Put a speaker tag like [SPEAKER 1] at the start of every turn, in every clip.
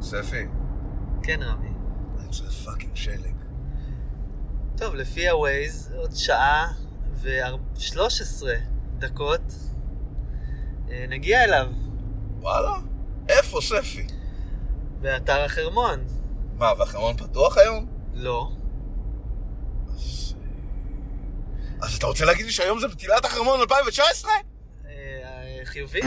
[SPEAKER 1] ספי,
[SPEAKER 2] כן, רמי.
[SPEAKER 1] זה פאקינג שלג.
[SPEAKER 2] טוב, לפי הווייז, עוד שעה ו-13 דקות אה, נגיע אליו,
[SPEAKER 1] וואלה? איפה ספי?
[SPEAKER 2] באתר החרמון.
[SPEAKER 1] מה, והחרמון פתוח היום?
[SPEAKER 2] לא.
[SPEAKER 1] אז... אה, אז אתה רוצה להגיד לי שהיום זה בטילת החרמון 2019?
[SPEAKER 2] אה, חיובי?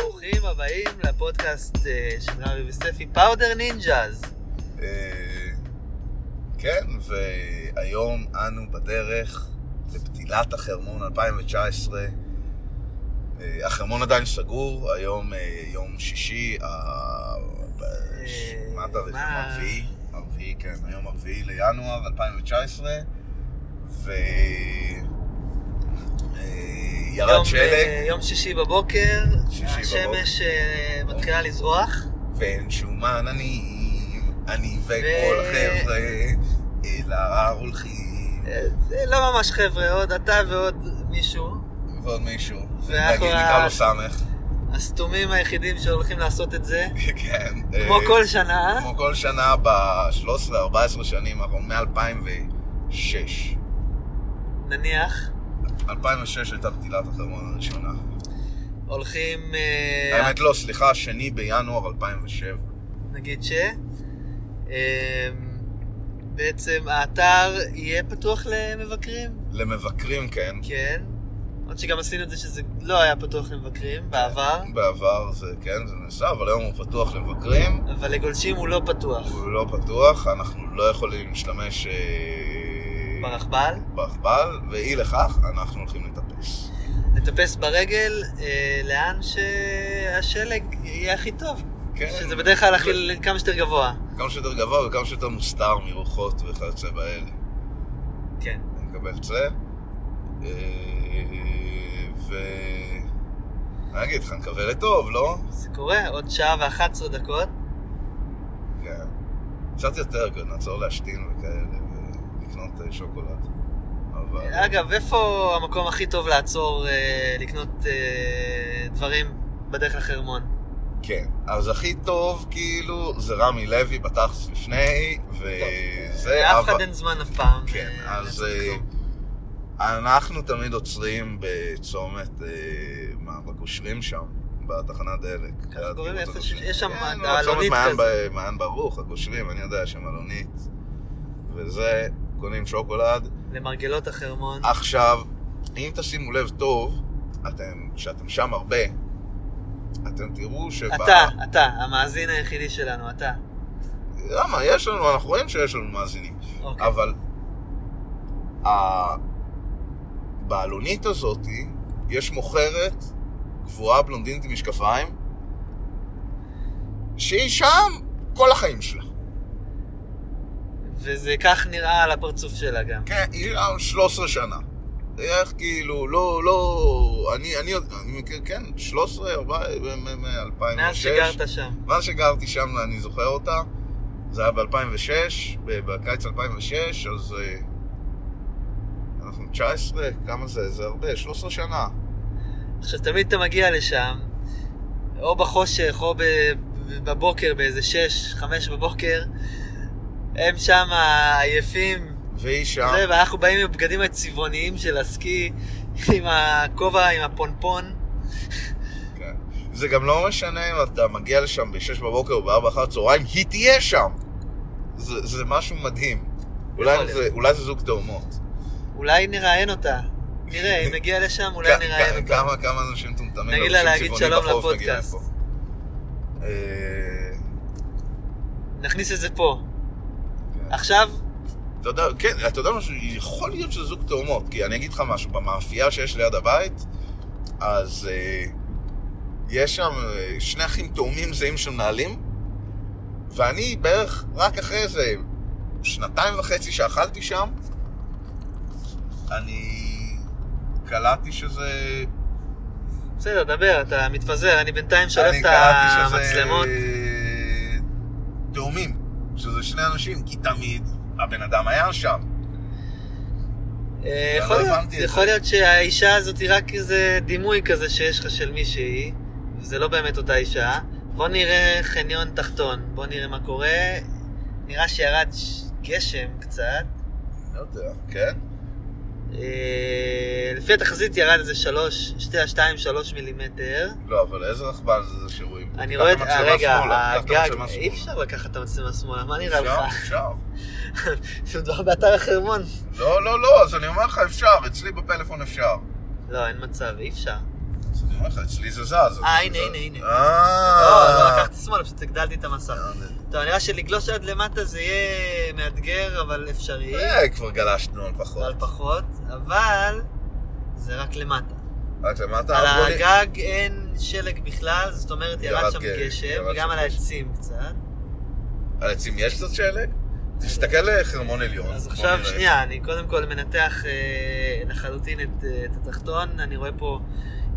[SPEAKER 2] ברוכים הבאים לפודקאסט אה, של רמי וספי, פאודר נינג'אז.
[SPEAKER 1] אה, כן, והיום אנו בדרך לבטילת החרמון 2019. אה, החרמון עדיין סגור, היום אה, יום שישי, ה- ש- מה התאריך?
[SPEAKER 2] אה, מה?
[SPEAKER 1] הרביעי? הרביעי, כן, היום הרביעי לינואר 2019, ו... אה, ירד
[SPEAKER 2] יום,
[SPEAKER 1] שלג,
[SPEAKER 2] אה, יום שישי בבוקר,
[SPEAKER 1] שישי
[SPEAKER 2] השמש אה, מתחילה לזרוח.
[SPEAKER 1] ואין שום עננים, אני וכל
[SPEAKER 2] ו-
[SPEAKER 1] החבר'ה אל ההר הולכים.
[SPEAKER 2] אה, זה לא ממש חבר'ה, עוד אתה ועוד מישהו.
[SPEAKER 1] ועוד מישהו.
[SPEAKER 2] ואחלה.
[SPEAKER 1] נגיד נקרא לו סמך.
[SPEAKER 2] הסתומים היחידים שהולכים לעשות את זה,
[SPEAKER 1] כן.
[SPEAKER 2] כמו
[SPEAKER 1] אה,
[SPEAKER 2] כל שנה.
[SPEAKER 1] כמו כל שנה ב-13-14 שנים, אנחנו מ-2006.
[SPEAKER 2] נניח,
[SPEAKER 1] 2006 הייתה בטילת החרמון הראשונה.
[SPEAKER 2] הולכים, אה,
[SPEAKER 1] האמת לא, סליחה, שני בינואר 2007.
[SPEAKER 2] נגיד ש... אה, בעצם האתר יהיה פתוח למבקרים,
[SPEAKER 1] למבקרים, כן.
[SPEAKER 2] כן. עוד שגם עשינו את זה שזה לא היה פתוח למבקרים בעבר,
[SPEAKER 1] בעבר זה, כן, זה נעשה, אבל היום הוא פתוח למבקרים.
[SPEAKER 2] אבל לגולשים הוא לא פתוח.
[SPEAKER 1] הוא לא פתוח, אנחנו לא יכולים להשתמש... אה,
[SPEAKER 2] ברכבל,
[SPEAKER 1] ברכבל, ואי לכך, אנחנו הולכים לטפס.
[SPEAKER 2] לטפס ברגל אה, לאן שהשלג יהיה הכי טוב,
[SPEAKER 1] כן.
[SPEAKER 2] שזה בדרך כלל הכי כמה שיותר גבוה.
[SPEAKER 1] כמה שיותר גבוה וכמה שיותר מוסתר מרוחות וכיוצא באלה.
[SPEAKER 2] כן.
[SPEAKER 1] אני מקבל צל. אה, ו... אני אגיד לך, אני מקווה לטוב, לא?
[SPEAKER 2] זה קורה, עוד שעה ואחת עשרה דקות.
[SPEAKER 1] כן. קצת יותר, כי נעצור להשתין וכאלה, ולקנות אה, שוקולד. אבל...
[SPEAKER 2] אגב, איפה המקום הכי טוב לעצור אה, לקנות אה, דברים בדרך לחרמון?
[SPEAKER 1] כן. אז הכי טוב, כאילו, זה רמי לוי בתכלס לפני, וזה...
[SPEAKER 2] לאף
[SPEAKER 1] אה, אבל-
[SPEAKER 2] אחד אין זמן אף פעם.
[SPEAKER 1] כן,
[SPEAKER 2] אה,
[SPEAKER 1] אז
[SPEAKER 2] לעשות
[SPEAKER 1] אה,
[SPEAKER 2] כלום.
[SPEAKER 1] אנחנו תמיד עוצרים בצומת, אה, מה, בקושרים שם, בתחנת דלק.
[SPEAKER 2] ככה קוראים
[SPEAKER 1] ליד
[SPEAKER 2] איפה
[SPEAKER 1] קיבוץ
[SPEAKER 2] ש-
[SPEAKER 1] הגושרים.
[SPEAKER 2] יש שם
[SPEAKER 1] כן,
[SPEAKER 2] מען-
[SPEAKER 1] לא,
[SPEAKER 2] מעלונית
[SPEAKER 1] צומת מען
[SPEAKER 2] כזה.
[SPEAKER 1] ב- מען ברוך, הקושרים, אני יודע שם מעלונית. וזה, קונים שוקולד.
[SPEAKER 2] למרגלות החרמון.
[SPEAKER 1] עכשיו, אם תשימו לב טוב, אתם, כשאתם שם הרבה, אתם תראו שב...
[SPEAKER 2] אתה, אתה, המאזין היחידי שלנו, אתה.
[SPEAKER 1] למה? יש לנו, אנחנו רואים שיש לנו מאזינים.
[SPEAKER 2] אוקיי.
[SPEAKER 1] אבל ה- בעלונית הזאת, יש מוכרת גבוהה בלונדינית עם משקפיים, שהיא שם כל החיים שלה.
[SPEAKER 2] וזה כך נראה על הפרצוף שלה גם.
[SPEAKER 1] כן, היא שם 13 שנה. איך כאילו, לא, לא, אני, אני, עוד- אני מכיר, כן, 13, 14, מ-2006.
[SPEAKER 2] מאז שגרת שם.
[SPEAKER 1] מאז שגרתי שם, אני זוכר אותה. זה היה ב-2006, בקיץ 2006, אז אה, אנחנו 19, כמה זה? זה הרבה, 13 שנה.
[SPEAKER 2] עכשיו, תמיד אתה מגיע לשם, או בחושך, או ב- בבוקר, באיזה שש, חמש בבוקר, הם שם עייפים,
[SPEAKER 1] והיא שם,
[SPEAKER 2] זה, ואנחנו באים עם הבגדים הצבעוניים של הסקי, עם הכובע, עם הפונפון.
[SPEAKER 1] כן. זה גם לא משנה אם אתה מגיע לשם ב-6 בבוקר או ב-4 אחר הצהריים, היא תהיה שם! זה, זה משהו מדהים.
[SPEAKER 2] יכול
[SPEAKER 1] אולי
[SPEAKER 2] להיות.
[SPEAKER 1] זה, אולי זה זוג תאומות.
[SPEAKER 2] אולי נראיין אותה. נראה, אם נגיע לשם, אולי
[SPEAKER 1] כ-
[SPEAKER 2] נראיין
[SPEAKER 1] כ-
[SPEAKER 2] אותה.
[SPEAKER 1] כמה, כמה אנשים מטומטמים
[SPEAKER 2] נגיד לה להגיד שלום לפודקאסט.
[SPEAKER 1] אה,
[SPEAKER 2] נכניס את זה פה.
[SPEAKER 1] כן.
[SPEAKER 2] עכשיו,
[SPEAKER 1] אתה יודע, כן, אתה יודע משהו, יכול להיות שזה זוג תאומות, כי אני אגיד לך משהו, במאפייה שיש ליד הבית, אז אה, יש שם אה, שני אחים תאומים זהים שמנהלים, ואני בערך רק אחרי איזה שנתיים וחצי שאכלתי שם, אני קלטתי שזה...
[SPEAKER 2] בסדר, דבר, אתה מתפזר, אני בינתיים שולף
[SPEAKER 1] אני
[SPEAKER 2] את
[SPEAKER 1] קלטתי שזה,
[SPEAKER 2] המצלמות.
[SPEAKER 1] אה, תאומים, שזה שני אנשים, כי תמיד הבן אדם היה שם.
[SPEAKER 2] אה,
[SPEAKER 1] לא
[SPEAKER 2] יכול להיות-
[SPEAKER 1] הבנתי את
[SPEAKER 2] יכול
[SPEAKER 1] זה.
[SPEAKER 2] להיות שהאישה הזאת היא רק איזה דימוי כזה שיש לך של מישהי, וזה לא באמת אותה אישה. בוא נראה חניון תחתון, בוא נראה מה קורה. נראה שירד ש- גשם קצת.
[SPEAKER 1] לא יודע, כן?
[SPEAKER 2] אה, לפי התחזית ירד איזה שלוש, שתי השתיים שלוש מילימטר.
[SPEAKER 1] לא, אבל איזה רכבל זה זה שרואים?
[SPEAKER 2] אני
[SPEAKER 1] קח
[SPEAKER 2] רואה את,
[SPEAKER 1] את המצלמה
[SPEAKER 2] רגע,
[SPEAKER 1] שמאלה, קח את
[SPEAKER 2] הגג,
[SPEAKER 1] המצלמה
[SPEAKER 2] אי
[SPEAKER 1] שמאלה.
[SPEAKER 2] אפשר לקחת את המצלמה שמאלה, מה נראה לך?
[SPEAKER 1] אפשר, אפשר.
[SPEAKER 2] מדובר באתר החרמון.
[SPEAKER 1] לא, לא, לא, אז אני אומר לך, אפשר, אצלי בפלאפון אפשר.
[SPEAKER 2] לא, אין מצב, אי אפשר.
[SPEAKER 1] אז אני אומר לך, אצלי זה זז. אז
[SPEAKER 2] אה,
[SPEAKER 1] זה
[SPEAKER 2] הנה,
[SPEAKER 1] זז.
[SPEAKER 2] הנה, הנה. לא, לא
[SPEAKER 1] אה.
[SPEAKER 2] לקחתי שמאלה, פשוט הגדלתי את המסך.
[SPEAKER 1] אה,
[SPEAKER 2] טוב, נראה שלגלוש עד למטה זה יהיה מאתגר, אבל אפשרי,
[SPEAKER 1] אה, כבר גלשנו על פחות.
[SPEAKER 2] אבל פחות, אבל זה רק למטה.
[SPEAKER 1] רק למטה,
[SPEAKER 2] על
[SPEAKER 1] בוא נ-
[SPEAKER 2] הגג אין שלג בכלל, זאת אומרת ירד
[SPEAKER 1] ירד
[SPEAKER 2] שם
[SPEAKER 1] גשם,
[SPEAKER 2] גשם,
[SPEAKER 1] ירד
[SPEAKER 2] גם
[SPEAKER 1] שם גשם.
[SPEAKER 2] על העצים קצת.
[SPEAKER 1] על עצים יש קצת שלג? תסתכל לחרמון עליון.
[SPEAKER 2] אז
[SPEAKER 1] בוא
[SPEAKER 2] עכשיו
[SPEAKER 1] נראה.
[SPEAKER 2] שנייה, אני קודם כל מנתח אה, לחלוטין את, אה, את התחתון, אני רואה פה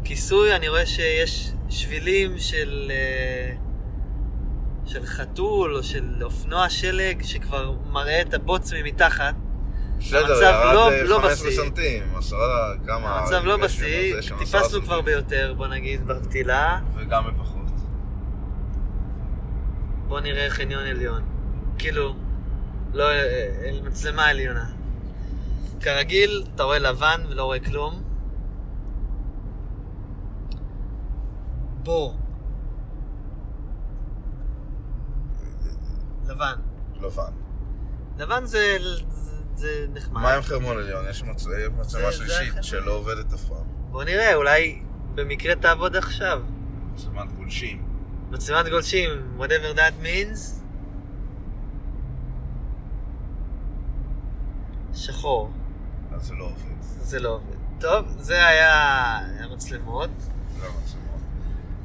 [SPEAKER 2] כיסוי, אני רואה שיש שבילים של, אה, של חתול או של אופנוע שלג שכבר מראה את הבוץ ממתחת.
[SPEAKER 1] בסדר,
[SPEAKER 2] המצב לא-
[SPEAKER 1] ירד
[SPEAKER 2] לא
[SPEAKER 1] אה, 15
[SPEAKER 2] בשיא.
[SPEAKER 1] סנטים, עשרה, כמה...
[SPEAKER 2] המצב לא
[SPEAKER 1] גשם,
[SPEAKER 2] בשיא,
[SPEAKER 1] זה שם, עשרה
[SPEAKER 2] טיפסנו
[SPEAKER 1] סנטים.
[SPEAKER 2] כבר ביותר, בוא נגיד, בקטילה.
[SPEAKER 1] וגם בפחות.
[SPEAKER 2] בוא נראה חניון עליון. כאילו, לא, אה, אה, מצלמה עליונה. כרגיל, אתה רואה לבן ולא רואה כלום. בור. לבן.
[SPEAKER 1] לבן.
[SPEAKER 2] לבן זה, זה, זה נחמד.
[SPEAKER 1] מה עם חרמון עליון? יש מצ- יש מצלמה
[SPEAKER 2] זה
[SPEAKER 1] שלישית
[SPEAKER 2] החרמון.
[SPEAKER 1] שלא עובדת אף פעם.
[SPEAKER 2] בוא נראה, אולי במקרה תעבוד עכשיו.
[SPEAKER 1] מצלמת גולשים.
[SPEAKER 2] מצלמת גולשים, whatever that means. שחור.
[SPEAKER 1] אז זה לא עובד.
[SPEAKER 2] זה לא עובד. טוב, זה היה המצלמות.
[SPEAKER 1] זה המצלמות.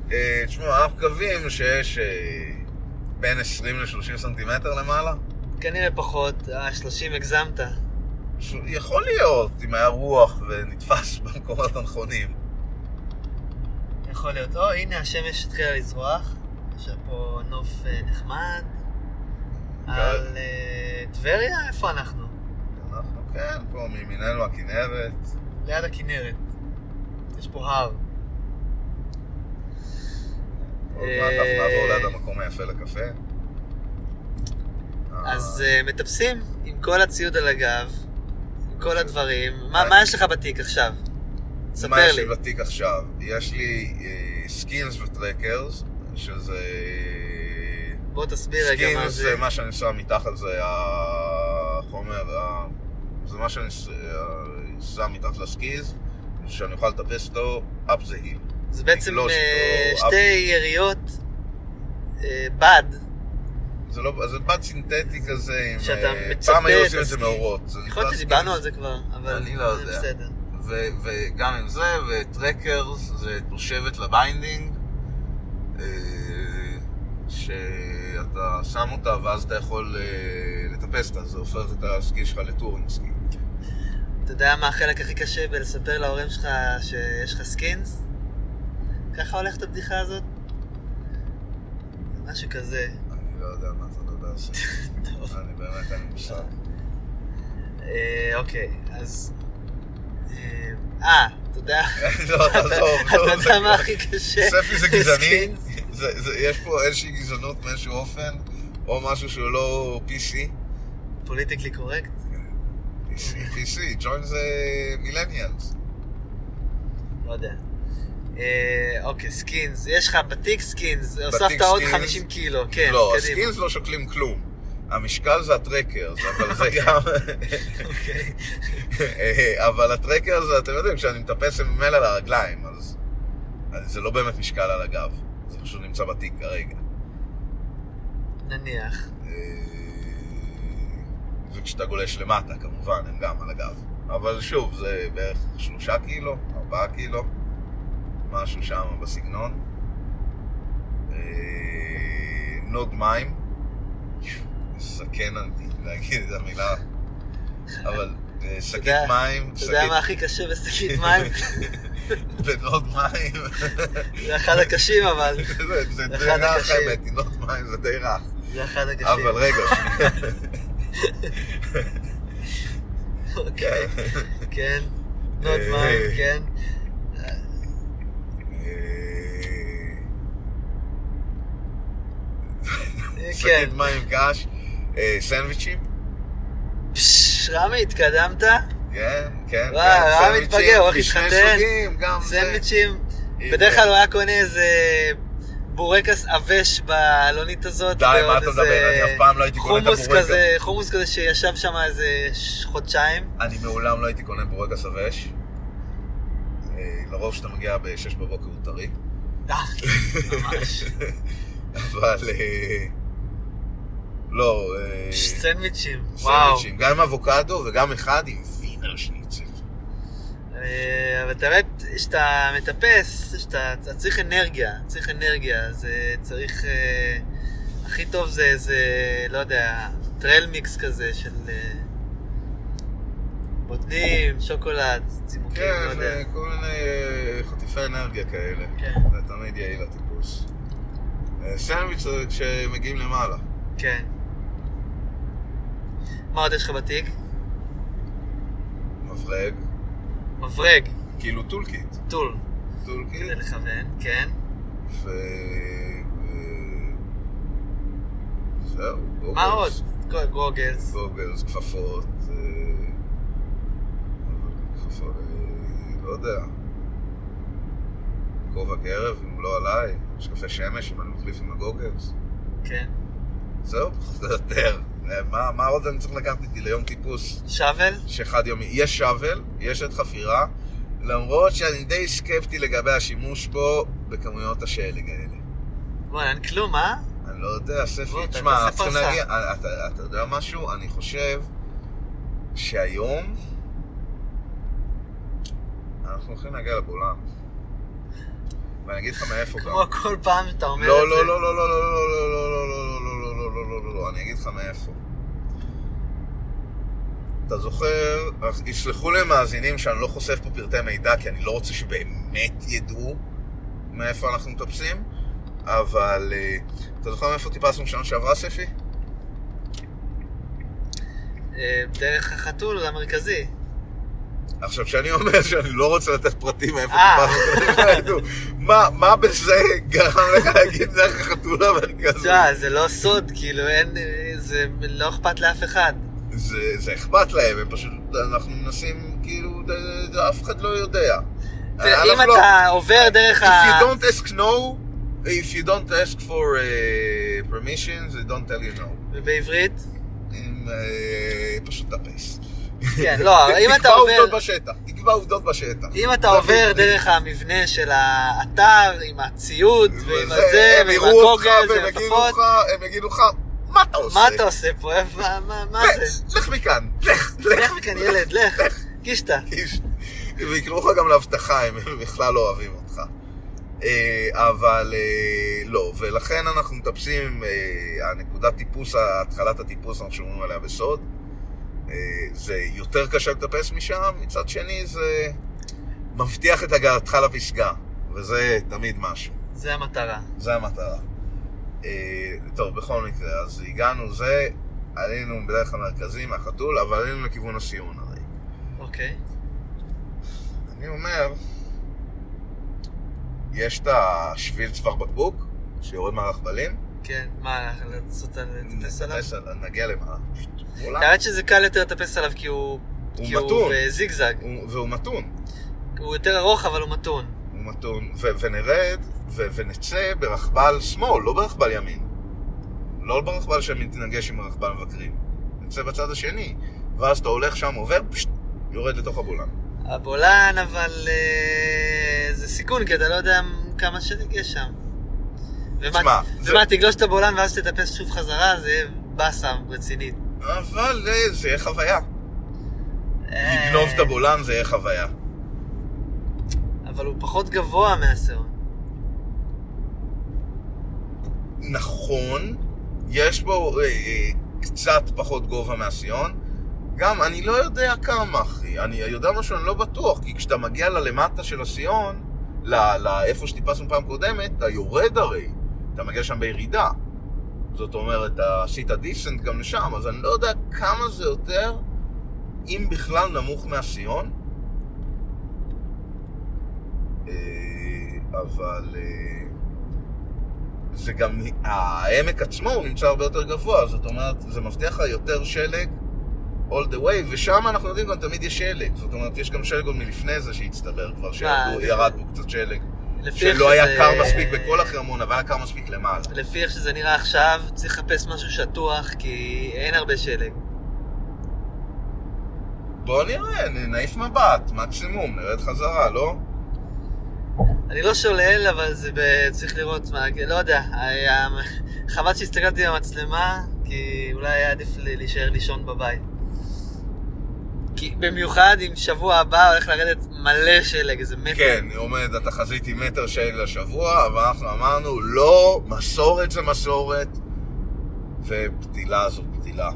[SPEAKER 1] לא אה, תשמעו, אנחנו מקווים שיש אה, בין 20 ל-30 סנטימטר למעלה.
[SPEAKER 2] כנראה פחות, אה, 30 הגזמת.
[SPEAKER 1] ש- יכול להיות, אם היה רוח ונתפס במקומות הנכונים.
[SPEAKER 2] יכול להיות. או, הנה השמש התחילה לזרוח. יש פה נוף אה, נחמד. על אה, טבריה? איפה אנחנו?
[SPEAKER 1] אנחנו כן, פה מימיננו הכנרת.
[SPEAKER 2] ליד הכנרת. יש פה הר.
[SPEAKER 1] עוד מעט אנחנו
[SPEAKER 2] אה,
[SPEAKER 1] נעבור ליד המקום היפה לקפה.
[SPEAKER 2] אז אה, מטפסים עם כל הציוד על הגב, עם כל הדברים. מה
[SPEAKER 1] אה.
[SPEAKER 2] מה יש לך בתיק עכשיו?
[SPEAKER 1] אה, מה
[SPEAKER 2] ספר
[SPEAKER 1] יש
[SPEAKER 2] לי.
[SPEAKER 1] לי בתיק עכשיו? יש לי סקינס וטרקרס, שזה...
[SPEAKER 2] בוא תסביר רגע מה
[SPEAKER 1] סקינס
[SPEAKER 2] זה.
[SPEAKER 1] זה מה שאני שם מתחת, זה החומר, ה- זה מה שאני ש- אה, שם מתחת לסקיז, שאני אוכל לטפס אותו up the hill.
[SPEAKER 2] זה בעצם
[SPEAKER 1] לגלוש
[SPEAKER 2] אה,
[SPEAKER 1] אותו,
[SPEAKER 2] שתי יריות אה, בד.
[SPEAKER 1] זה לא, זה בד סינתטי כזה, עם...
[SPEAKER 2] שאתה
[SPEAKER 1] אה,
[SPEAKER 2] מצטט,
[SPEAKER 1] פעם היו עושים את זה
[SPEAKER 2] אז-
[SPEAKER 1] מאורות. זה
[SPEAKER 2] יכול
[SPEAKER 1] נקרא
[SPEAKER 2] להיות שדיברנו
[SPEAKER 1] skins.
[SPEAKER 2] על זה כבר, אבל...
[SPEAKER 1] לא אני לא יודע.
[SPEAKER 2] זה בסדר.
[SPEAKER 1] ו- וגם עם זה, וטרקרס זה תושבת לביינדינג, אה, שאתה שם אותה ואז אתה יכול אה, לטפס אותה, זה הופך את הסקי שלך לטורינג סקי.
[SPEAKER 2] אתה יודע מה החלק הכי קשה בלספר להורים שלך שיש לך סקינס? ככה הולכת הבדיחה הזאת? משהו כזה.
[SPEAKER 1] אני לא יודע מה אתה מדבר על זה.
[SPEAKER 2] טוב.
[SPEAKER 1] אני באמת, אין לי מושג.
[SPEAKER 2] אה, אוקיי, אז... אה, אה, אתה יודע...
[SPEAKER 1] לא, תעזוב,
[SPEAKER 2] אתה
[SPEAKER 1] לא,
[SPEAKER 2] יודע
[SPEAKER 1] זה-
[SPEAKER 2] מה הכי קשה?
[SPEAKER 1] ספי זה גזעני,
[SPEAKER 2] סקינס?
[SPEAKER 1] זה- זה- יש פה איזושהי גזענות מאיזשהו אופן, או משהו שהוא לא PC.
[SPEAKER 2] פוליטיקלי קורקט?
[SPEAKER 1] PC, PC, ג'וינג זה מילניאלס.
[SPEAKER 2] לא יודע. אה, אוקיי, סקינס. יש לך בתיק סקינס, הוספת
[SPEAKER 1] בתיק
[SPEAKER 2] עוד
[SPEAKER 1] סקינס?
[SPEAKER 2] 50 קילו, כן,
[SPEAKER 1] לא,
[SPEAKER 2] קדימה.
[SPEAKER 1] הסקילס לא שוקלים כלום. המשקל זה הטרקרס, אבל זה גם...
[SPEAKER 2] אוקיי.
[SPEAKER 1] אה, אבל הטרקרס, אתם יודעים, כשאני מטפס הם ממילא על הרגליים, אז... אז זה לא באמת משקל על הגב, זה פשוט נמצא בתיק כרגע.
[SPEAKER 2] נניח.
[SPEAKER 1] אה, וכשאתה גולש למטה, כמובן, הם גם על הגב. אבל שוב, זה בערך שלושה קילו, ארבעה קילו, משהו שם בסגנון. אה, נוד מים. זקן אותי להגיד את המילה. אבל אה, שקית
[SPEAKER 2] יודע-
[SPEAKER 1] מים,
[SPEAKER 2] אתה יודע
[SPEAKER 1] שקית
[SPEAKER 2] מה הכי קשה בשקית מים?
[SPEAKER 1] בנוד מים.
[SPEAKER 2] זה אחד הקשים, אבל...
[SPEAKER 1] זה- זה די
[SPEAKER 2] אחד
[SPEAKER 1] רך
[SPEAKER 2] הקשה.
[SPEAKER 1] האמת, נוד מים זה די רך.
[SPEAKER 2] זה אחד הקשים.
[SPEAKER 1] אבל רגע, שנייה.
[SPEAKER 2] אוקיי, כן. תנות מים, כן.
[SPEAKER 1] אה,
[SPEAKER 2] כן.
[SPEAKER 1] שקית מים קש, אה, סנדוויצ'ים,
[SPEAKER 2] פשש, רמי, התקדמת?
[SPEAKER 1] כן, כן.
[SPEAKER 2] וואי,
[SPEAKER 1] גם
[SPEAKER 2] הרב
[SPEAKER 1] סנדוויצ'ים
[SPEAKER 2] מתבגר, הולך
[SPEAKER 1] משני
[SPEAKER 2] להתחתן.
[SPEAKER 1] סוגים, גם זה.
[SPEAKER 2] סנדוויצ'ים.
[SPEAKER 1] אה,
[SPEAKER 2] בדרך
[SPEAKER 1] אה.
[SPEAKER 2] כלל הוא היה קונה איזה בורקס עבש בעלונית הזאת.
[SPEAKER 1] די, מה אתה
[SPEAKER 2] ועוד איזה
[SPEAKER 1] מדבר? אני אף פעם לא הייתי קונה את
[SPEAKER 2] חומוס
[SPEAKER 1] הבורקס.
[SPEAKER 2] כזה, חומוס כזה שישב שם איזה ש- חודשיים.
[SPEAKER 1] אני מעולם לא הייתי קונה בורגס עבש. אה, לרוב כשאתה מגיע ב-6 בבוקר הוא טרי.
[SPEAKER 2] אה, ממש.
[SPEAKER 1] אבל... אה, לא, אה,
[SPEAKER 2] פש, סנדוויצ'ים, וואו.
[SPEAKER 1] סנדוויצ'ים. גם עם אבוקדו וגם אחד עם וינר שניצל.
[SPEAKER 2] אה, אבל אתה באמת, כשאתה מטפס, כשאתה אתה צריך אנרגיה, צריך אנרגיה, זה צריך... אה, הכי טוב זה איזה, לא יודע, טרל מיקס כזה של אה, בוטנים, שוקולד, צימוקים,
[SPEAKER 1] כן,
[SPEAKER 2] לא יודע.
[SPEAKER 1] אה, כל מיני אה, חטיפי אנרגיה כאלה.
[SPEAKER 2] כן.
[SPEAKER 1] זה תמיד יעיל הטיפוס. אה, סנדוויץ' זה כשמגיעים למעלה.
[SPEAKER 2] כן. מה עוד יש לך בתיק?
[SPEAKER 1] מברג,
[SPEAKER 2] מברג,
[SPEAKER 1] כאילו טולקיט.
[SPEAKER 2] טול,
[SPEAKER 1] טולקיט,
[SPEAKER 2] כדי לכוון, כן.
[SPEAKER 1] ו... ו- זהו, גוגלס.
[SPEAKER 2] מה עוד? גו- גוגלס,
[SPEAKER 1] גוגלס, כפפות. אה, כפפות, אה, לא יודע. כובע גרב, אם הוא לא עליי. משקפי שמש, אם אני מחליף עם הגוגלס.
[SPEAKER 2] כן.
[SPEAKER 1] זהו, פחות או יותר. אה, מה- מה עוד אני צריך לקחת איתי ליום טיפוס?
[SPEAKER 2] שוול?
[SPEAKER 1] שחד יומי. יש שוול, יש את חפירה, למרות שאני די סקפטי לגבי השימוש בו בכמויות השלג האלה.
[SPEAKER 2] וואי, אין כלום, אה?
[SPEAKER 1] אני לא יודע,
[SPEAKER 2] בוא,
[SPEAKER 1] ספי,
[SPEAKER 2] אתה
[SPEAKER 1] תשמע,
[SPEAKER 2] תעשה
[SPEAKER 1] אנחנו צריכים
[SPEAKER 2] פרסה.
[SPEAKER 1] להגיע, אתה- אתה אתה יודע משהו? אני חושב שהיום אנחנו הולכים להגיע לגולן. ואני אגיד לך מאיפה גם.
[SPEAKER 2] כמו כל פעם שאתה אומר
[SPEAKER 1] לא,
[SPEAKER 2] את זה.
[SPEAKER 1] לא, לא, לא, לא, לא, לא, לא, לא, לא, לא, לא, לא, לא, לא, לא, לא, לא, לא, אני אגיד לך מאיפה. אתה זוכר, אך יסלחו לי מאזינים שאני לא חושף פה פרטי מידע, כי אני לא רוצה שבאמת ידעו מאיפה אנחנו מטפסים, אבל אה, אתה זוכר מאיפה טיפסנו בשנה שעברה, ספי?
[SPEAKER 2] אה, דרך החתול המרכזי.
[SPEAKER 1] לא. עכשיו, כשאני אומר שאני לא רוצה לתת פרטים מאיפה
[SPEAKER 2] אה.
[SPEAKER 1] טיפסנו, כדי שלא ידעו, מה- מה בזה גרם לך להגיד דרך החתולה
[SPEAKER 2] אתה
[SPEAKER 1] המרכזית?
[SPEAKER 2] יודע, זה לא סוד, כאילו, אין... אה, זה לא אכפת לאף אחד.
[SPEAKER 1] אה, זה, זה אכפת להם, הם פשוט, אנחנו מנסים, כאילו, ד- ד- ד- אף אחד לא יודע.
[SPEAKER 2] תראה,
[SPEAKER 1] אנחנו לא-
[SPEAKER 2] אם אתה עובר דרך ה...
[SPEAKER 1] If you don't ask no, if you don't ask for uh, permission, they don't tell you no.
[SPEAKER 2] ובעברית?
[SPEAKER 1] הם, אה, פשוט טפס.
[SPEAKER 2] כן, לא, אם אתה
[SPEAKER 1] תקבע
[SPEAKER 2] עובר...
[SPEAKER 1] עובדות בשטח, תקבע עובדות בשטח.
[SPEAKER 2] אם אתה
[SPEAKER 1] זה
[SPEAKER 2] עובר
[SPEAKER 1] בעברית.
[SPEAKER 2] דרך המבנה של האתר, עם הציוד, ועם הזה,
[SPEAKER 1] הם
[SPEAKER 2] ועם
[SPEAKER 1] יראו אותך
[SPEAKER 2] הגוגל, ועם
[SPEAKER 1] והם יגידו
[SPEAKER 2] הכפפות,
[SPEAKER 1] לך, הם יגידו לך, מה אתה עושה?
[SPEAKER 2] מה אתה עושה פה? איפה- מה- מה- מה זה?
[SPEAKER 1] ו- לך מכאן, לך, לך.
[SPEAKER 2] לך מכאן, ילד, לך, קישטה.
[SPEAKER 1] איש. ויקראו לך גם להבטחה אם הם בכלל לא אוהבים אותך. אה, אבל אה, לא, ולכן אנחנו מטפסים, אה, הנקודת טיפוס, התחלת הטיפוס, אנחנו שומרים עליה בסוד. אה, זה יותר קשה לטפס משם, מצד שני זה מבטיח את הגעתך לפסגה, וזה תמיד משהו.
[SPEAKER 2] זה המטרה.
[SPEAKER 1] זה המטרה. אה, טוב, בכל מקרה, אז הגענו זה, עלינו בדרך המרכזי מהחתול, אבל עלינו לכיוון הסיון הרי.
[SPEAKER 2] אוקיי.
[SPEAKER 1] אני אומר, יש את השביל צוואר בקבוק, שיורד מהרכבלים,
[SPEAKER 2] כן, מה, לעשות על... לטפס עליו?
[SPEAKER 1] נטפס עליו, נגיע למעלה. פשוט עולה.
[SPEAKER 2] האמת שזה קל יותר לטפס עליו כי הוא...
[SPEAKER 1] הוא
[SPEAKER 2] כי
[SPEAKER 1] מתון.
[SPEAKER 2] בזיגזג.
[SPEAKER 1] הוא- והוא מתון,
[SPEAKER 2] הוא יותר ארוך אבל הוא מתון.
[SPEAKER 1] הוא מתון, ו- ונרד, ו- ונצא ברכבל שמאל, לא ברכבל ימין. לא ברכבל שמתנגש עם הרכבל מבקרים. נצא בצד השני, ואז אתה הולך שם, עובר, פשט, יורד לתוך הבולען.
[SPEAKER 2] הבולען אבל אה, זה סיכון כי אתה לא יודע כמה שלג יש שם. ומה,
[SPEAKER 1] תשמע, זה-
[SPEAKER 2] ומה תגלוש את הבולען ואז תטפס שוב חזרה זה יהיה באסה רצינית.
[SPEAKER 1] אבל אה, זה יהיה חוויה.
[SPEAKER 2] אה,
[SPEAKER 1] לגנוב את הבולען זה יהיה חוויה.
[SPEAKER 2] אבל הוא פחות גבוה מהסיון.
[SPEAKER 1] נכון, יש בו אה, אה, קצת פחות גובה מהסיון. גם, אני לא יודע כמה, אחי. אני יודע משהו, אני לא בטוח, כי כשאתה מגיע ללמטה של הסיון, ל- לאיפה שטיפסנו פעם קודמת, אתה יורד הרי. אתה מגיע שם בירידה. זאת אומרת, עשית דיסנט גם לשם, אז אני לא יודע כמה זה יותר, אם בכלל נמוך מהסיון. אה, אבל אה, זה גם, העמק עצמו הוא נמצא הרבה יותר גבוה, זאת אומרת, זה מבטיח לך יותר שלג all the way, ושם אנחנו יודעים גם תמיד יש שלג, זאת אומרת, יש גם שלג עוד מלפני זה שהצטבר כבר,
[SPEAKER 2] זה-
[SPEAKER 1] שירד פה קצת שלג.
[SPEAKER 2] לפי איך
[SPEAKER 1] שלא היה
[SPEAKER 2] שזה-
[SPEAKER 1] קר מספיק בכל החרמון, אבל היה קר מספיק למעלה.
[SPEAKER 2] לפי איך שזה נראה עכשיו, צריך לחפש משהו שטוח, כי אין הרבה שלג.
[SPEAKER 1] בוא נראה, נ- נעיף מבט, מקסימום, נרד חזרה, לא?
[SPEAKER 2] אני לא שולל, אבל זה ב... צריך לראות מה... לא יודע, היה- חבל שהסתכלתי במצלמה, כי אולי היה עדיף לי- להישאר לישון בבית. כי במיוחד אם שבוע הבא הולך לרדת מלא שלג, איזה מטר.
[SPEAKER 1] כן, עומד התחזית עם מטר שלג לשבוע, אבל אנחנו אמרנו, לא, מסורת זה מסורת, ובדילה זו בדילה.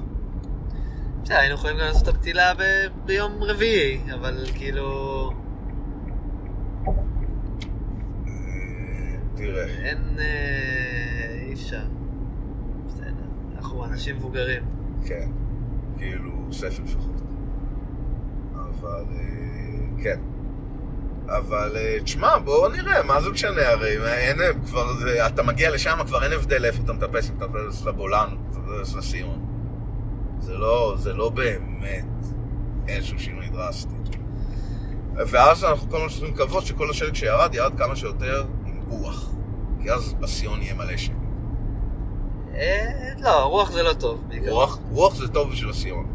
[SPEAKER 2] בסדר, היינו יכולים גם לעשות את הפתילה ב... ביום רביעי, אבל כאילו...
[SPEAKER 1] אה, תראה,
[SPEAKER 2] אין... אה, אי אפשר. בסדר, אנחנו אנשים מבוגרים.
[SPEAKER 1] כן, כאילו, ספר לפחות. אבל, אה, כן. אבל אה, תשמע, בואו נראה, מה זה משנה הרי, מה, אין, כבר, זה, אתה מגיע לשם, כבר אין הבדל איפה אתה מטפס, אם אתה מטפס לבולן, אתה מטפס לסיון. זה לא, זה לא באמת איזשהו שינוי דרסטי. ואז אנחנו כל הזמן צריכים לקוות שכל השלג שירד, ירד כמה שיותר עם רוח. כי אז בסיון יהיה מלא שלג.
[SPEAKER 2] אה, לא, רוח זה לא טוב. בעיקר.
[SPEAKER 1] רוח, רוח זה טוב בשביל הסיון.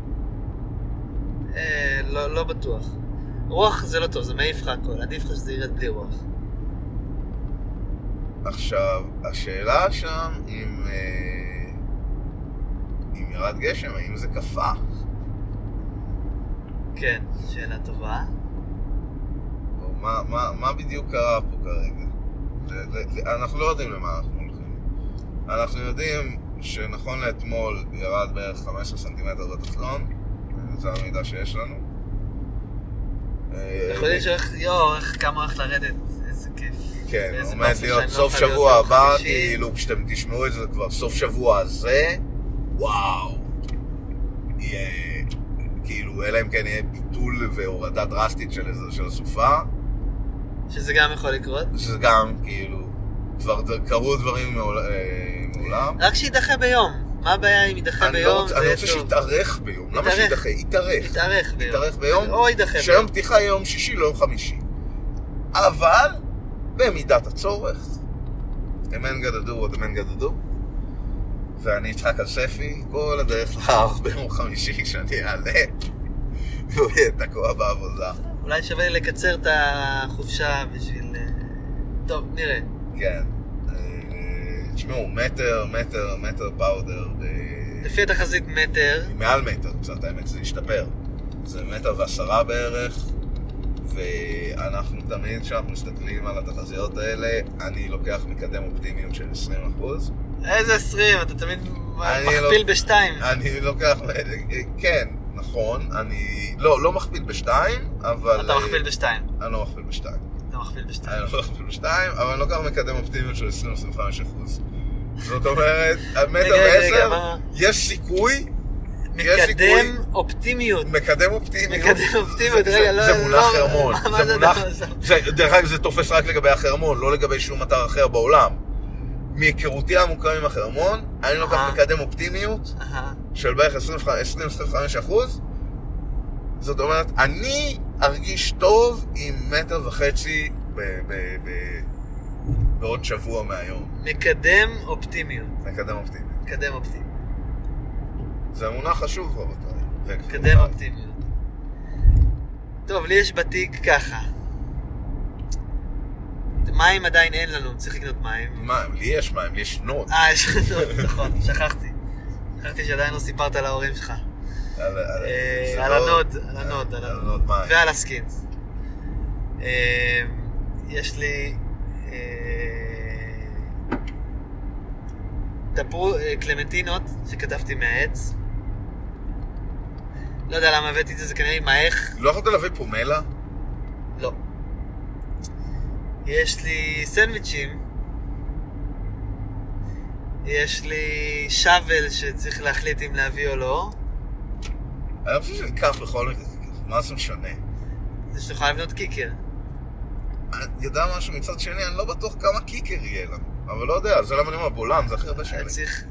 [SPEAKER 2] אה, לא, לא בטוח. רוח זה לא טוב, זה מעיף לך הכל. עדיף לך שזה ירד בלי רוח.
[SPEAKER 1] עכשיו, השאלה שם, אם, אה, אם ירד גשם, האם זה קפא?
[SPEAKER 2] כן, שאלה טובה.
[SPEAKER 1] או מה, מה, מה בדיוק קרה פה כרגע? ל- ל- ל- אנחנו לא יודעים למה אנחנו הולכים. אנחנו יודעים שנכון לאתמול ירד בערך 15 סנטימטר בתחתון, זה המידע שיש לנו. אה,
[SPEAKER 2] אנחנו יודעים שאיך, יואו, איך כמה הולך לרדת, איזה כיף.
[SPEAKER 1] כן,
[SPEAKER 2] באיזה
[SPEAKER 1] עומד
[SPEAKER 2] פעם שאני
[SPEAKER 1] להיות
[SPEAKER 2] לא
[SPEAKER 1] סוף
[SPEAKER 2] אוכל
[SPEAKER 1] שבוע
[SPEAKER 2] להיות יום
[SPEAKER 1] הבא,
[SPEAKER 2] חמישי.
[SPEAKER 1] כאילו כשאתם תשמעו את זה כבר סוף שבוע הזה, וואו. יהיה, כאילו, אלא אם כן יהיה ביטול והורדה דרסטית של איזה- של הסופה,
[SPEAKER 2] שזה גם יכול לקרות.
[SPEAKER 1] שזה גם, כאילו, כבר ד- קרו דברים מעול- אה, מעולם.
[SPEAKER 2] רק שידחה ביום. מה הבעיה אם יידחה
[SPEAKER 1] אני לא
[SPEAKER 2] ביום?
[SPEAKER 1] רוצה
[SPEAKER 2] זה
[SPEAKER 1] אני רוצה
[SPEAKER 2] טוב.
[SPEAKER 1] שיתארך ביום, למה
[SPEAKER 2] יתארך.
[SPEAKER 1] שיתארך? יתארך.
[SPEAKER 2] יתארך ביום.
[SPEAKER 1] יתארך ביום?
[SPEAKER 2] או יידחה ביום.
[SPEAKER 1] שהיום פתיחה יהיה יום שישי, לא יום חמישי. אבל, במידת הצורך, the man gotta do what the man gotta do, ואני אצחק על ספי כל הדרך להר ביום חמישי כשאני אעלה, והוא יהיה תקוע בעבודה.
[SPEAKER 2] אולי שווה לי לקצר את החופשה בשביל... אה, טוב, נראה.
[SPEAKER 1] כן. אה, תשמעו, מטר, מטר, מטר פאודר, ב-
[SPEAKER 2] לפי התחזית מטר,
[SPEAKER 1] מעל מטר קצת, האמת, זה השתפר. זה מטר ועשרה בערך, ואנחנו תמיד כשאנחנו מסתכלים על התחזיות האלה, אני לוקח מקדם אופטימיות של 20%.
[SPEAKER 2] איזה 20, אתה תמיד
[SPEAKER 1] אני
[SPEAKER 2] מכפיל
[SPEAKER 1] לא-
[SPEAKER 2] בשתיים.
[SPEAKER 1] אני לוקח, כן, נכון, אני לא, לא מכפיל בשתיים, אבל...
[SPEAKER 2] אתה מכפיל בשתיים.
[SPEAKER 1] אני לא מכפיל בשתיים.
[SPEAKER 2] אתה מכפיל בשתיים.
[SPEAKER 1] אני לא מכפיל בשתיים, אבל אני לוקח מקדם אופטימיות של 20-25%. זאת אומרת, המטר
[SPEAKER 2] רגע, רגע, רגע,
[SPEAKER 1] בעשר,
[SPEAKER 2] מה-
[SPEAKER 1] יש סיכוי, יש סיכוי-
[SPEAKER 2] מקדם אופטימיות.
[SPEAKER 1] מקדם אופטימיות.
[SPEAKER 2] מקדם אופטימיות,
[SPEAKER 1] זה- זה-
[SPEAKER 2] רגע, לא...
[SPEAKER 1] זה מונח
[SPEAKER 2] לא-
[SPEAKER 1] חרמון.
[SPEAKER 2] מה-
[SPEAKER 1] זה
[SPEAKER 2] מה זה
[SPEAKER 1] מונח-
[SPEAKER 2] הדבר הזה?
[SPEAKER 1] זה, דרך אגב, זה תופס רק לגבי החרמון, לא לגבי שום אתר אחר בעולם. מהיכרותי העמוקה עם החרמון, אני לוקח
[SPEAKER 2] אה.
[SPEAKER 1] מקדם אופטימיות
[SPEAKER 2] אהה.
[SPEAKER 1] של בערך 20-25 אחוז. זאת אומרת, אני ארגיש טוב עם מטר וחצי ב- ב- ב- בעוד שבוע מהיום.
[SPEAKER 2] מקדם אופטימיות.
[SPEAKER 1] מקדם אופטימיות.
[SPEAKER 2] מקדם אופטימיות.
[SPEAKER 1] זה מונח חשוב, רבותיי.
[SPEAKER 2] מקדם
[SPEAKER 1] אה.
[SPEAKER 2] אופטימיות. טוב, לי יש בתיק ככה. מים עדיין אין לנו, צריך לקנות מים.
[SPEAKER 1] מים, לי יש מים, לי יש נוד.
[SPEAKER 2] אה, יש לנו, נכון, שכחתי. שכחתי שעדיין לא סיפרת להורים שלך.
[SPEAKER 1] על
[SPEAKER 2] אה,
[SPEAKER 1] זה
[SPEAKER 2] על
[SPEAKER 1] לא-
[SPEAKER 2] הנוד, על הנוד, על הנוד.
[SPEAKER 1] הנוד מים.
[SPEAKER 2] ועל הסקינס. אה, יש לי... אה, דברו, אה, קלמנטינות שכתבתי מהעץ. לא יודע למה הבאתי את זה, זה כנראה עם האיך.
[SPEAKER 1] לא יכולת להביא פומלה?
[SPEAKER 2] לא. יש לי סנדוויצ'ים יש לי שאבל שצריך להחליט אם להביא או לא.
[SPEAKER 1] אני לא חושב שניקח בכל מקרה, מה זה משנה?
[SPEAKER 2] זה שתוכל לבנות קיקר.
[SPEAKER 1] אני יודע משהו מצד שני, אני לא בטוח כמה קיקר יהיה לנו. אבל לא יודע, זה למה אני אומר בולען, זה הכי
[SPEAKER 2] אה,
[SPEAKER 1] הרבה שלי.
[SPEAKER 2] צריך,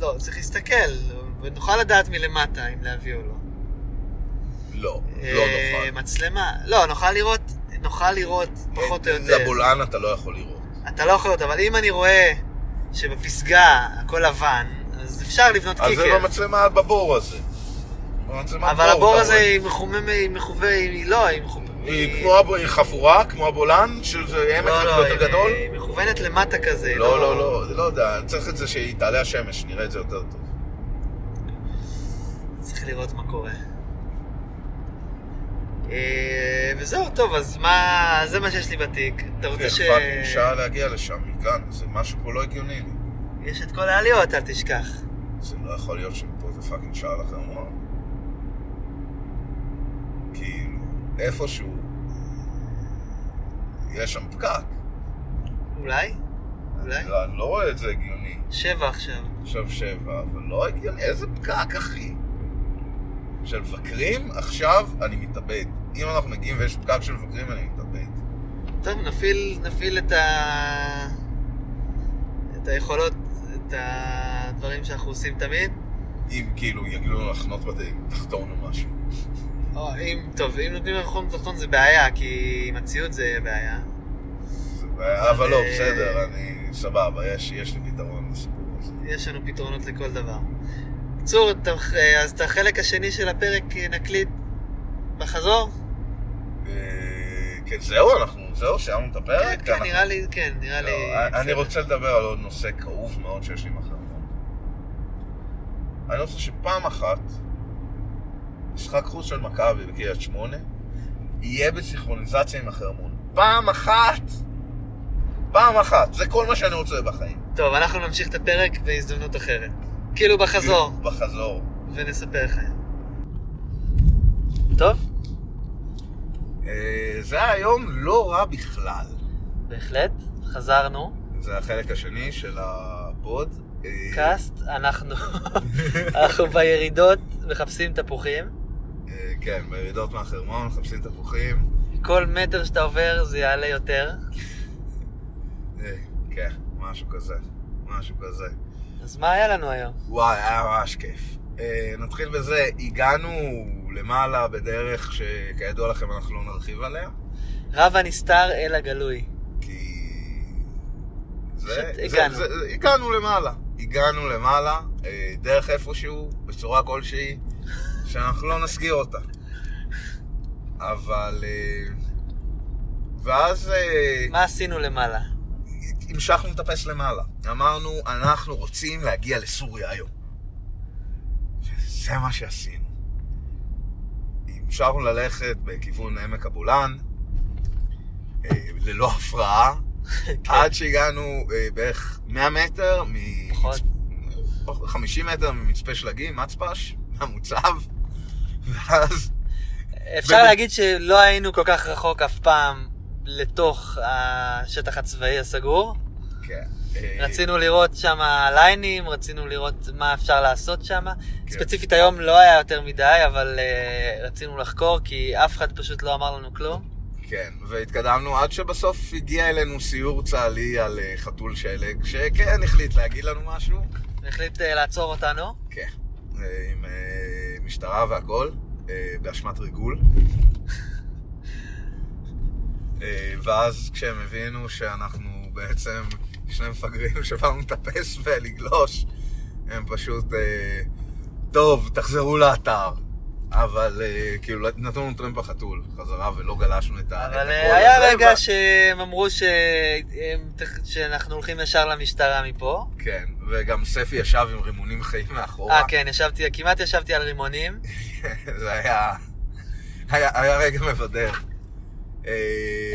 [SPEAKER 2] לא, צריך להסתכל, ונוכל לדעת מלמטה אם להביא או לא.
[SPEAKER 1] לא, לא
[SPEAKER 2] אה,
[SPEAKER 1] נוכל.
[SPEAKER 2] מצלמה, לא, נוכל לראות, נוכל לראות פחות או
[SPEAKER 1] את-
[SPEAKER 2] יותר.
[SPEAKER 1] אה, לבולען אתה לא יכול לראות.
[SPEAKER 2] אתה לא יכול לראות, אבל אם אני רואה שבפסגה הכל לבן, אז אפשר לבנות
[SPEAKER 1] אז זה לא
[SPEAKER 2] קיקר.
[SPEAKER 1] במצלמה עד בבור הזה. במצלמה
[SPEAKER 2] אבל
[SPEAKER 1] עד בור,
[SPEAKER 2] הבור
[SPEAKER 1] אתה
[SPEAKER 2] הזה
[SPEAKER 1] רואה.
[SPEAKER 2] היא מחומם, היא מחווה, היא לא, היא מחומם.
[SPEAKER 1] היא כמו הב- היא חפורה, כמו הבולען, שזה עמק
[SPEAKER 2] לא, אה,
[SPEAKER 1] רק
[SPEAKER 2] לא,
[SPEAKER 1] יותר
[SPEAKER 2] היא-
[SPEAKER 1] גדול?
[SPEAKER 2] היא מכוונת למטה כזה.
[SPEAKER 1] לא, לא, לא, לא יודע, צריך את זה שהיא תעלה השמש, נראה את זה יותר טוב.
[SPEAKER 2] צריך לראות מה קורה. אה, וזהו, טוב, אז מה, זה מה שיש לי בתיק. אתה רוצה ש...
[SPEAKER 1] פאק, כן, שעה להגיע לשם מכאן, זה משהו פה לא הגיוני לי.
[SPEAKER 2] יש את כל העליות, אל תשכח.
[SPEAKER 1] זה לא יכול להיות שפה זה פאקינג שעה לחרמון. כאילו, איפשהו, יש שם פקק.
[SPEAKER 2] אולי? אולי?
[SPEAKER 1] לא, אני לא רואה את זה הגיוני.
[SPEAKER 2] שבע עכשיו.
[SPEAKER 1] עכשיו שבע, אבל לא הגיוני, איזה פקק, אחי. של מבקרים, עכשיו אני מתאבד. אם אנחנו מגיעים ויש פקק של מבקרים, אני מתאבד.
[SPEAKER 2] טוב, נפעיל, נפעיל את ה... את היכולות, את הדברים שאנחנו עושים תמיד.
[SPEAKER 1] אם כאילו יגידו לנו לחנות בדי, תחתון או משהו.
[SPEAKER 2] או, אם, טוב, אם נותנים לרחוב תחתון זה בעיה, כי עם הציוד זה בעיה.
[SPEAKER 1] זה בעיה, אבל לא,
[SPEAKER 2] אה,
[SPEAKER 1] בסדר, אני סבבה, יש יש לי פתרון לסיפור הזה.
[SPEAKER 2] יש לנו פתרונות לכל דבר. בקיצור, את ה- אז את החלק השני של הפרק אה, נקליט בחזור?
[SPEAKER 1] אה, כן, זהו, אנחנו, זהו, סיימנו את הפרק. לא,
[SPEAKER 2] כן, כן, נראה לי, כן, נראה לי...
[SPEAKER 1] אני
[SPEAKER 2] בסדר.
[SPEAKER 1] רוצה לדבר על עוד נושא כאוב מאוד שיש לי מחרמון. אני רוצה שפעם אחת, משחק חוץ של מכבי בקריית שמונה, יהיה בסינכרוניזציה עם החרמון. פעם אחת! פעם אחת, זה כל מה שאני רוצה בחיים.
[SPEAKER 2] טוב, אנחנו נמשיך את הפרק בהזדמנות אחרת. כאילו בחזור,
[SPEAKER 1] בחזור.
[SPEAKER 2] ונספר לכם. טוב,
[SPEAKER 1] אה, זה היה יום לא רע בכלל.
[SPEAKER 2] בהחלט, חזרנו.
[SPEAKER 1] זה החלק השני של הפוד. אה,
[SPEAKER 2] קאסט, אנחנו אנחנו בירידות מחפשים תפוחים.
[SPEAKER 1] אה, כן, בירידות מהחרמון, מחפשים תפוחים.
[SPEAKER 2] כל מטר שאתה עובר זה יעלה יותר.
[SPEAKER 1] אה, כן, משהו כזה. משהו כזה.
[SPEAKER 2] אז מה היה לנו היום?
[SPEAKER 1] וואי, היה ממש כיף. אה, נתחיל בזה, הגענו למעלה בדרך שכידוע לכם אנחנו לא נרחיב עליה,
[SPEAKER 2] רב הנסתר אל הגלוי.
[SPEAKER 1] כי... זה,
[SPEAKER 2] פשוט
[SPEAKER 1] זה,
[SPEAKER 2] הגענו.
[SPEAKER 1] זה, זה, הגענו למעלה. הגענו למעלה, אה, דרך איפשהו, בצורה כלשהי, שאנחנו לא נסגיר אותה. אבל... אה, ואז... אה,
[SPEAKER 2] מה עשינו למעלה?
[SPEAKER 1] המשכנו לטפס למעלה. אמרנו, אנחנו רוצים להגיע לסוריה היום. וזה מה שעשינו. המשכנו ללכת בכיוון עמק הבולען, אה, ללא הפרעה, עד שהגענו אה, בערך 100 מטר, מ...
[SPEAKER 2] פחות.
[SPEAKER 1] 50 מטר ממצפה שלגים, מצפש, מהמוצב, ואז
[SPEAKER 2] אפשר
[SPEAKER 1] באמת.
[SPEAKER 2] להגיד שלא היינו כל כך רחוק אף פעם לתוך השטח הצבאי הסגור.
[SPEAKER 1] כן, אה,
[SPEAKER 2] רצינו לראות שם ליינים, רצינו לראות מה אפשר לעשות שם.
[SPEAKER 1] כן.
[SPEAKER 2] ספציפית היום לא היה יותר מדי, אבל אה, רצינו לחקור, כי אף אחד פשוט לא אמר לנו כלום.
[SPEAKER 1] כן, והתקדמנו עד שבסוף הגיע אלינו סיור צה"לי על אה, חתול שלג, שכן החליט להגיד לנו משהו.
[SPEAKER 2] והחליט אה, לעצור אותנו.
[SPEAKER 1] כן. אה, עם אה, משטרה והכל, אה, באשמת ריגול. אה, ואז כשהם הבינו שאנחנו בעצם שני מפגרים שבאנו לטפס ולגלוש, הם פשוט, אה, טוב, תחזרו לאתר. אבל אה, כאילו נתנו לנו טרמפ החתול חזרה ולא גלשנו את ה...
[SPEAKER 2] אבל
[SPEAKER 1] את
[SPEAKER 2] אה,
[SPEAKER 1] הכל הזה,
[SPEAKER 2] היה רגע
[SPEAKER 1] ו-
[SPEAKER 2] שהם אמרו שהם תכ- שאנחנו הולכים ישר למשטרה מפה.
[SPEAKER 1] כן, וגם ספי ישב עם רימונים חיים מאחורה.
[SPEAKER 2] אה, כן, ישבתי, כמעט ישבתי על רימונים.
[SPEAKER 1] זה היה... היה, היה רגע מבדר. אה,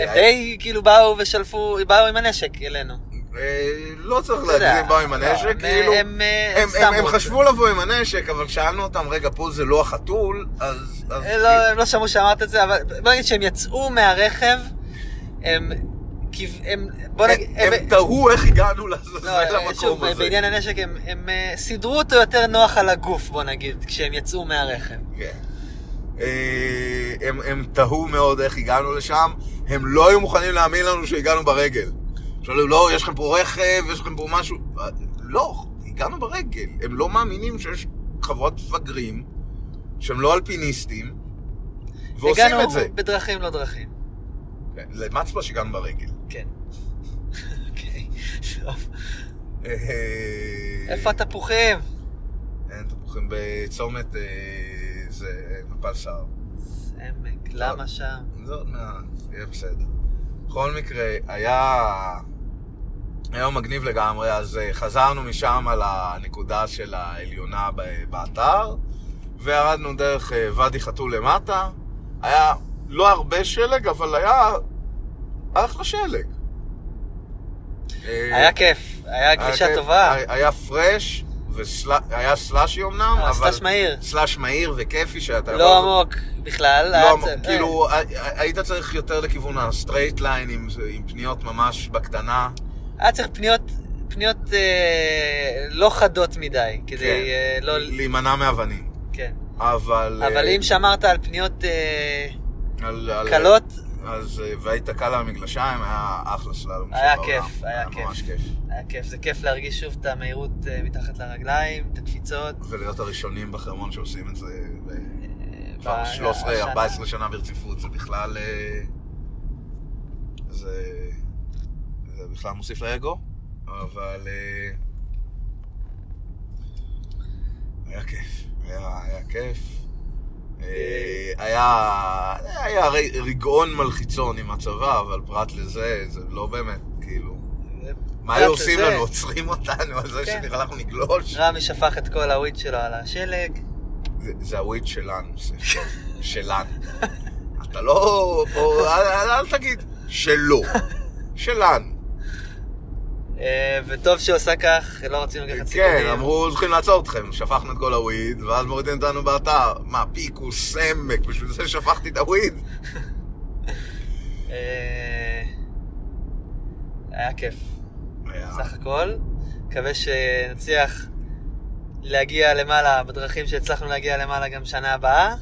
[SPEAKER 2] הם די כאילו באו ושלפו, באו עם הנשק אלינו.
[SPEAKER 1] אה, לא צריך
[SPEAKER 2] אתה יודע,
[SPEAKER 1] להגזים, באו עם
[SPEAKER 2] לא,
[SPEAKER 1] הנשק,
[SPEAKER 2] הם-
[SPEAKER 1] כאילו... הם,
[SPEAKER 2] הם אה,
[SPEAKER 1] הם,
[SPEAKER 2] שמו
[SPEAKER 1] הם
[SPEAKER 2] את זה.
[SPEAKER 1] חשבו לבוא עם הנשק, אבל שאלנו אותם, רגע, פה זה לא החתול, אז... אז
[SPEAKER 2] לא אה, לא, הם לא שמעו שאמרת את זה, אבל בוא נגיד שהם יצאו מהרכב, הם כיו- הם, בוא נגיד,
[SPEAKER 1] הם הם תהו איך הגענו
[SPEAKER 2] לא,
[SPEAKER 1] לעזאזל
[SPEAKER 2] שוב,
[SPEAKER 1] למקום הזה.
[SPEAKER 2] בעניין הנשק הם, הם אה, סידרו אותו יותר נוח על הגוף, בוא נגיד, כשהם יצאו מהרכב.
[SPEAKER 1] כן. אה, הם- הם תהו מאוד איך הגענו לשם, הם לא היו מוכנים להאמין לנו שהגענו ברגל. שאלו, לא, יש לכם פה רכב, יש לכם פה משהו. אה, לא, הגענו ברגל. הם לא מאמינים שיש חבורת מפגרים, שהם לא אלפיניסטים, ועושים
[SPEAKER 2] הגענו
[SPEAKER 1] את זה.
[SPEAKER 2] בדרכים לא דרכים.
[SPEAKER 1] כן, למצפש הגענו ברגל.
[SPEAKER 2] כן. אוקיי, טוב.
[SPEAKER 1] אה,
[SPEAKER 2] איפה התפוחים?
[SPEAKER 1] אין תפוחים בצומת, אה, זה מפל סער.
[SPEAKER 2] עמק,
[SPEAKER 1] אה.
[SPEAKER 2] למה שם?
[SPEAKER 1] זה עוד מעט, יהיה בסדר. בכל מקרה, היה... היה יום מגניב לגמרי, אז אה, חזרנו משם על הנקודה של העליונה ב- באתר, וירדנו דרך אה, ואדי חתול למטה. היה לא הרבה שלג, אבל היה אחלה שלג. אה,
[SPEAKER 2] היה כיף, היה גלישה
[SPEAKER 1] היה-
[SPEAKER 2] טובה.
[SPEAKER 1] אה, כן, היה- היה פרש, והיה סלאשי אמנם,
[SPEAKER 2] אה,
[SPEAKER 1] אבל...
[SPEAKER 2] סלאש מהיר.
[SPEAKER 1] סלאש מהיר וכיפי שאתה יכול-
[SPEAKER 2] לא עמוק בכלל.
[SPEAKER 1] לא,
[SPEAKER 2] היה
[SPEAKER 1] אמר,
[SPEAKER 2] צ-
[SPEAKER 1] כאילו, הי- היית צריך יותר לכיוון הסטרייט ליין עם זה- עם פניות ממש בקטנה.
[SPEAKER 2] אה, היה צריך פניות, פניות אה, לא חדות מדי,
[SPEAKER 1] כן.
[SPEAKER 2] כדי אה, לא...
[SPEAKER 1] להימנע מאבנים.
[SPEAKER 2] כן.
[SPEAKER 1] אבל...
[SPEAKER 2] אבל
[SPEAKER 1] אה,
[SPEAKER 2] אם שמרת על פניות אה,
[SPEAKER 1] על- על-
[SPEAKER 2] קלות,
[SPEAKER 1] אז, אה, והיית קל על המגלשיים, היה אחלה סללום
[SPEAKER 2] היה
[SPEAKER 1] שבעולם.
[SPEAKER 2] כיף, היה כיף.
[SPEAKER 1] ממש כיף.
[SPEAKER 2] היה כיף. זה כיף להרגיש שוב את המהירות אה, מתחת לרגליים, את הקפיצות.
[SPEAKER 1] ולהיות הראשונים בחרמון שעושים את זה ב-
[SPEAKER 2] אה,
[SPEAKER 1] כבר
[SPEAKER 2] ב-
[SPEAKER 1] 13,
[SPEAKER 2] השנה.
[SPEAKER 1] 14 שנה ברציפות, זה בכלל... אה, זה... זה בכלל מוסיף לאגו, אבל... אה, היה כיף, היה, היה כיף. אה, היה, היה רי- רגעון מלחיצון עם הצבא, אבל פרט לזה, זה לא באמת, כאילו... מה היו
[SPEAKER 2] פרט
[SPEAKER 1] עושים
[SPEAKER 2] אה, לזה-
[SPEAKER 1] לנו? עוצרים אותנו על זה
[SPEAKER 2] כן.
[SPEAKER 1] שנראה לך נגלוש?
[SPEAKER 2] רמי שפך את כל הוויד שלו על השלג.
[SPEAKER 1] זה- זה הוויד שלנו, ספר. שלנו. אתה לא... בוא, אל, אל, אל תגיד שלו. שלנו.
[SPEAKER 2] אה, וטוב שעושה כך, לא רצינו לקחת
[SPEAKER 1] כן,
[SPEAKER 2] סיכונים.
[SPEAKER 1] אמרו, הולכים לעצור אתכם. שפכנו את כל הוויד, ואז מורידים אותנו באתר. מה, פיקוס, עמק, בשביל זה שפכתי את הוויד?
[SPEAKER 2] אה, היה כיף.
[SPEAKER 1] היה-
[SPEAKER 2] סך הכל. מקווה שנצליח להגיע למעלה בדרכים שהצלחנו להגיע למעלה גם שנה הבאה.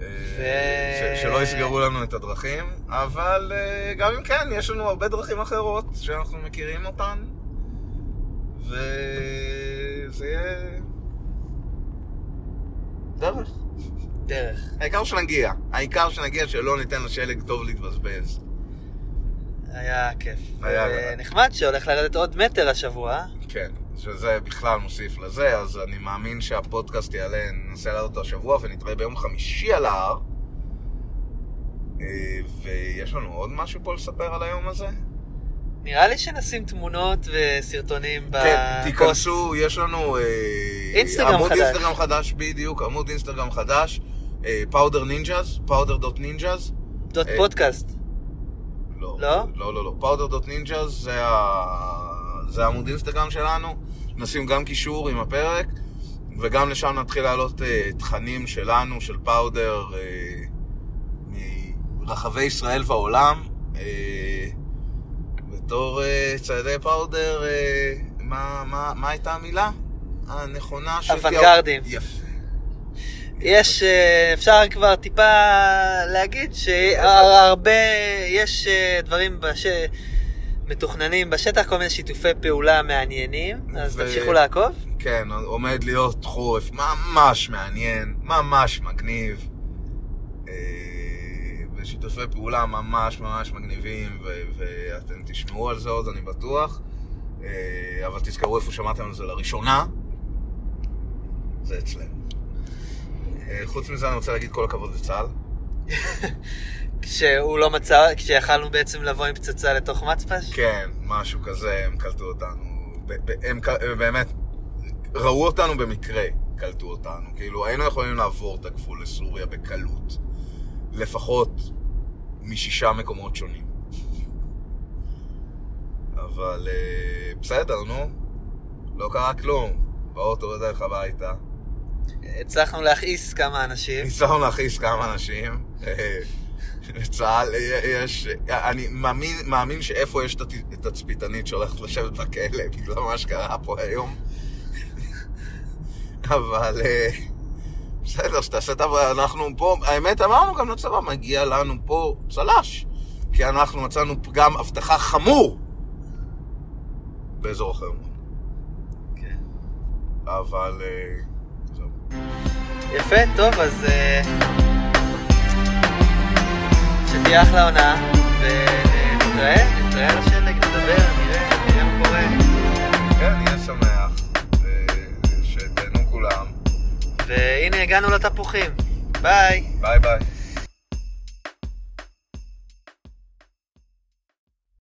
[SPEAKER 1] אה, ש- שלא יסגרו לנו את הדרכים, אבל אה, גם אם כן, יש לנו הרבה דרכים אחרות שאנחנו מכירים אותן, וזה יהיה... דרך.
[SPEAKER 2] דרך.
[SPEAKER 1] העיקר שנגיע. העיקר שנגיע שלא ניתן לשלג טוב להתבזבז.
[SPEAKER 2] היה כיף.
[SPEAKER 1] היה-
[SPEAKER 2] אה, נחמד שהולך לרדת עוד מטר השבוע.
[SPEAKER 1] כן. שזה בכלל מוסיף לזה, אז אני מאמין שהפודקאסט יעלה, ננסה לעלות אותו השבוע, ונתראה ביום חמישי על ההר. אה, ויש לנו עוד משהו פה לספר על היום הזה?
[SPEAKER 2] נראה לי שנשים תמונות וסרטונים
[SPEAKER 1] כן,
[SPEAKER 2] בפוסט.
[SPEAKER 1] תיכנסו, יש לנו... אה,
[SPEAKER 2] אינסטגרם
[SPEAKER 1] עמוד
[SPEAKER 2] חדש.
[SPEAKER 1] אינסטגרם חדש, בדיוק, עמוד אינסטגרם חדש. אה, פאודר נינג'אז, פאודר דוט נינג'אז.
[SPEAKER 2] דוט
[SPEAKER 1] אה,
[SPEAKER 2] פודקאסט.
[SPEAKER 1] לא,
[SPEAKER 2] לא?
[SPEAKER 1] לא, לא, לא. פאודר דוט נינג'אז זה ה- זה העמוד אינסטגרם שלנו. נשים גם קישור עם הפרק, וגם לשם נתחיל להעלות אה, תכנים שלנו, של פאודר, אה, מרחבי ישראל והעולם. אה, בתור אה, צעדי פאודר, אה, מה, מה, מה הייתה המילה הנכונה? שתהיה-
[SPEAKER 2] אוונגרדים.
[SPEAKER 1] יפה.
[SPEAKER 2] יש, אה, אפשר כבר טיפה להגיד שהרבה, יש אה, דברים בש... מתוכננים בשטח, כל מיני שיתופי פעולה מעניינים, אז
[SPEAKER 1] ו-
[SPEAKER 2] תמשיכו לעקוב.
[SPEAKER 1] כן, עומד להיות חורף ממש מעניין, ממש מגניב. אה, ושיתופי פעולה ממש ממש מגניבים, ו- ואתם תשמעו על זה עוד, אני בטוח. אה, אבל תזכרו איפה שמעתם על זה לראשונה. זה אצלנו. אה, חוץ מזה, אני רוצה להגיד כל הכבוד לצה"ל.
[SPEAKER 2] כשהוא לא מצא, כשיכלנו בעצם לבוא עם פצצה לתוך מצפש.
[SPEAKER 1] כן, משהו כזה, הם קלטו אותנו. ב- ב- הם ק- הם באמת ראו אותנו במקרה, קלטו אותנו. כאילו, היינו יכולים לעבור את הגבול לסוריה בקלות. לפחות משישה מקומות שונים. אבל אה, בסדר, נו. לא קרה כלום. באוטו בדרך הביתה.
[SPEAKER 2] הצלחנו להכעיס כמה אנשים.
[SPEAKER 1] ניסיון להכעיס כמה אנשים. בצה"ל יש, אני מאמין, מאמין שאיפה יש את הת- את התצפיתנית שהולכת לשבת בכלא, בגלל מה שקרה פה היום. אבל אה, בסדר, שתעשה את העבודה, אנחנו פה, האמת אמרנו גם לצבא, מגיע לנו פה צל"ש, כי אנחנו מצאנו פגם אבטחה חמור באזור החרמון.
[SPEAKER 2] כן.
[SPEAKER 1] אבל... אה, זהו.
[SPEAKER 2] יפה, טוב, אז אה, שתהיה אחלה עונה, ונתראה, נתראה על השלג, נדבר, נראה, נראה מה קורה.
[SPEAKER 1] כן, נהיה שמח, אה, שתהנו כולם.
[SPEAKER 2] והנה הגענו לתפוחים. ביי.
[SPEAKER 1] ביי ביי.